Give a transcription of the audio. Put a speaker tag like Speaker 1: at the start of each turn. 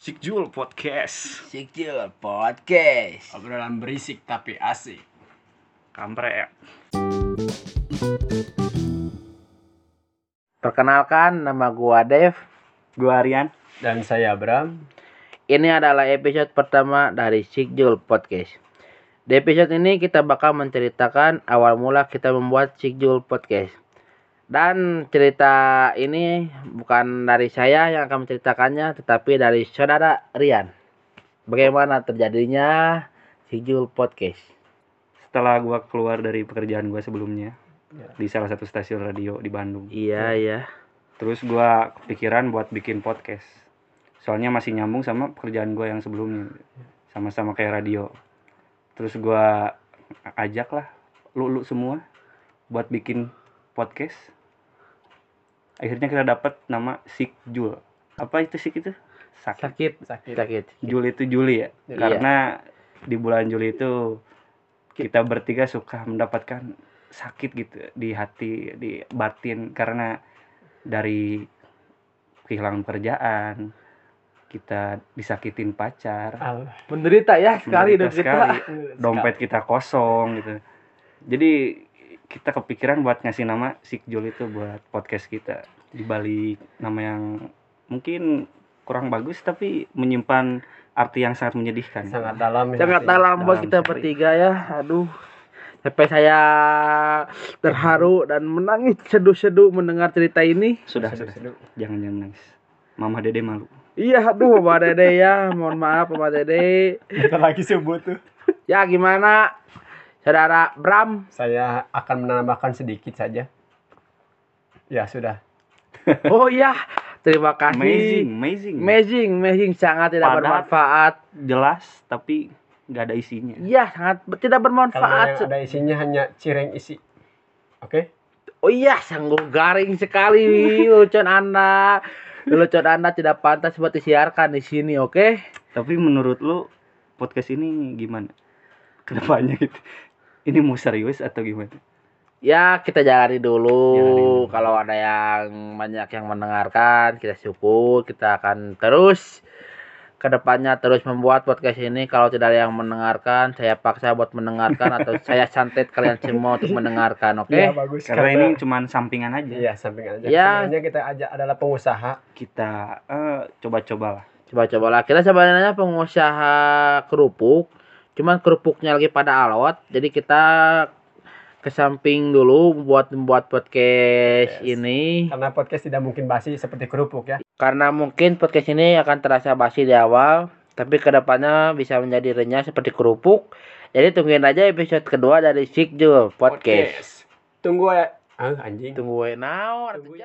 Speaker 1: Sikjul Podcast
Speaker 2: Sikil Podcast.
Speaker 3: Obrolan berisik tapi asik.
Speaker 1: Kampret ya.
Speaker 2: Perkenalkan nama gua Dev.
Speaker 4: Gua Aryan.
Speaker 3: Dan saya Abram.
Speaker 2: Ini adalah episode pertama dari Sikjul Podcast. Di episode ini kita bakal menceritakan awal mula kita membuat Sikjul Podcast. Dan cerita ini bukan dari saya yang akan menceritakannya, tetapi dari saudara Rian. Bagaimana terjadinya Sikjul Podcast?
Speaker 4: Setelah gua keluar dari pekerjaan gua sebelumnya
Speaker 3: Ya.
Speaker 4: di salah satu stasiun radio di Bandung.
Speaker 2: Iya, iya.
Speaker 4: Terus gua kepikiran buat bikin podcast. Soalnya masih nyambung sama pekerjaan gua yang sebelumnya. Sama-sama kayak radio. Terus gua ajak lah lu-lu semua buat bikin podcast. Akhirnya kita dapat nama Sik Jul. Apa itu Sik itu? Sakit.
Speaker 2: Sakit,
Speaker 3: Sakit.
Speaker 2: sakit.
Speaker 4: Juli itu Juli ya.
Speaker 3: Iya.
Speaker 4: Karena di bulan Juli itu kita bertiga suka mendapatkan sakit gitu di hati, di batin karena dari kehilangan kerjaan, kita disakitin
Speaker 3: Iya,
Speaker 4: pacar,
Speaker 2: Menderita ya sekali dong
Speaker 4: menderita
Speaker 2: kita.
Speaker 4: sekali, dompet kita kosong gitu. Jadi kita kepikiran buat ngasih nama Sikjul itu buat podcast kita di balik nama yang mungkin kurang bagus tapi menyimpan arti yang sangat menyedihkan.
Speaker 3: Sangat dalam. ya.
Speaker 2: sangat dalam buat
Speaker 4: Dalam
Speaker 2: kita
Speaker 4: sekali.
Speaker 2: bertiga ya aduh sampai saya terharu dan menangis seduh-seduh mendengar cerita ini
Speaker 4: sudah sudah jangan jangan nangis mama dede malu
Speaker 2: iya aduh Mama Dede ya mohon maaf Mama Dede
Speaker 3: Kita lagi sebut tuh.
Speaker 2: ya gimana saudara Bram
Speaker 3: Saya akan menambahkan sedikit saja. Ya sudah.
Speaker 2: oh iya terima
Speaker 4: amazing
Speaker 2: kasih
Speaker 4: amazing
Speaker 2: amazing amazing sangat tidak
Speaker 4: Padat.
Speaker 2: bermanfaat
Speaker 4: jelas tapi nggak ada isinya
Speaker 2: iya sangat ber- tidak
Speaker 3: Kalau yang
Speaker 2: bermanfaat
Speaker 3: ada isinya hanya cireng isi. Oke?
Speaker 2: oh iya sanggup garing sekali lucon anda lucon anda tidak pantas buat disiarkan di sini oke
Speaker 4: tapi menurut lu podcast ini gimana kedepannya gitu ini mau serius atau gimana
Speaker 2: Ya kita jalani dulu.
Speaker 4: Jalani dulu.
Speaker 2: Kalau ada yang banyak yang mendengarkan, kita syukur. Kita akan terus kedepannya terus membuat podcast ini. Kalau tidak ada yang mendengarkan, saya paksa buat mendengarkan atau saya santet kalian semua untuk mendengarkan. Oke?
Speaker 3: Iya bagus.
Speaker 4: karena ini cuman sampingan aja
Speaker 3: Iya samping aja.
Speaker 2: Iya.
Speaker 3: Sebenarnya kita aja adalah pengusaha.
Speaker 4: kita eh, coba-coba lah
Speaker 2: Coba-coba lah. Kita sebenarnya pengusaha kerupuk. Cuman kerupuknya lagi pada alot. Jadi kita ke samping dulu buat membuat podcast
Speaker 3: Yes.
Speaker 2: ini.
Speaker 3: Karena podcast tidak mungkin basi seperti kerupuk ya.
Speaker 2: Karena mungkin podcast ini akan terasa basi di awal, tapi kedepannya bisa menjadi renyah seperti kerupuk. Jadi tungguin aja episode kedua dari Sikjul Podcast.
Speaker 3: Tunggu ya. Ah, anjing.
Speaker 2: Tungguin now. ya.
Speaker 3: Tungguin.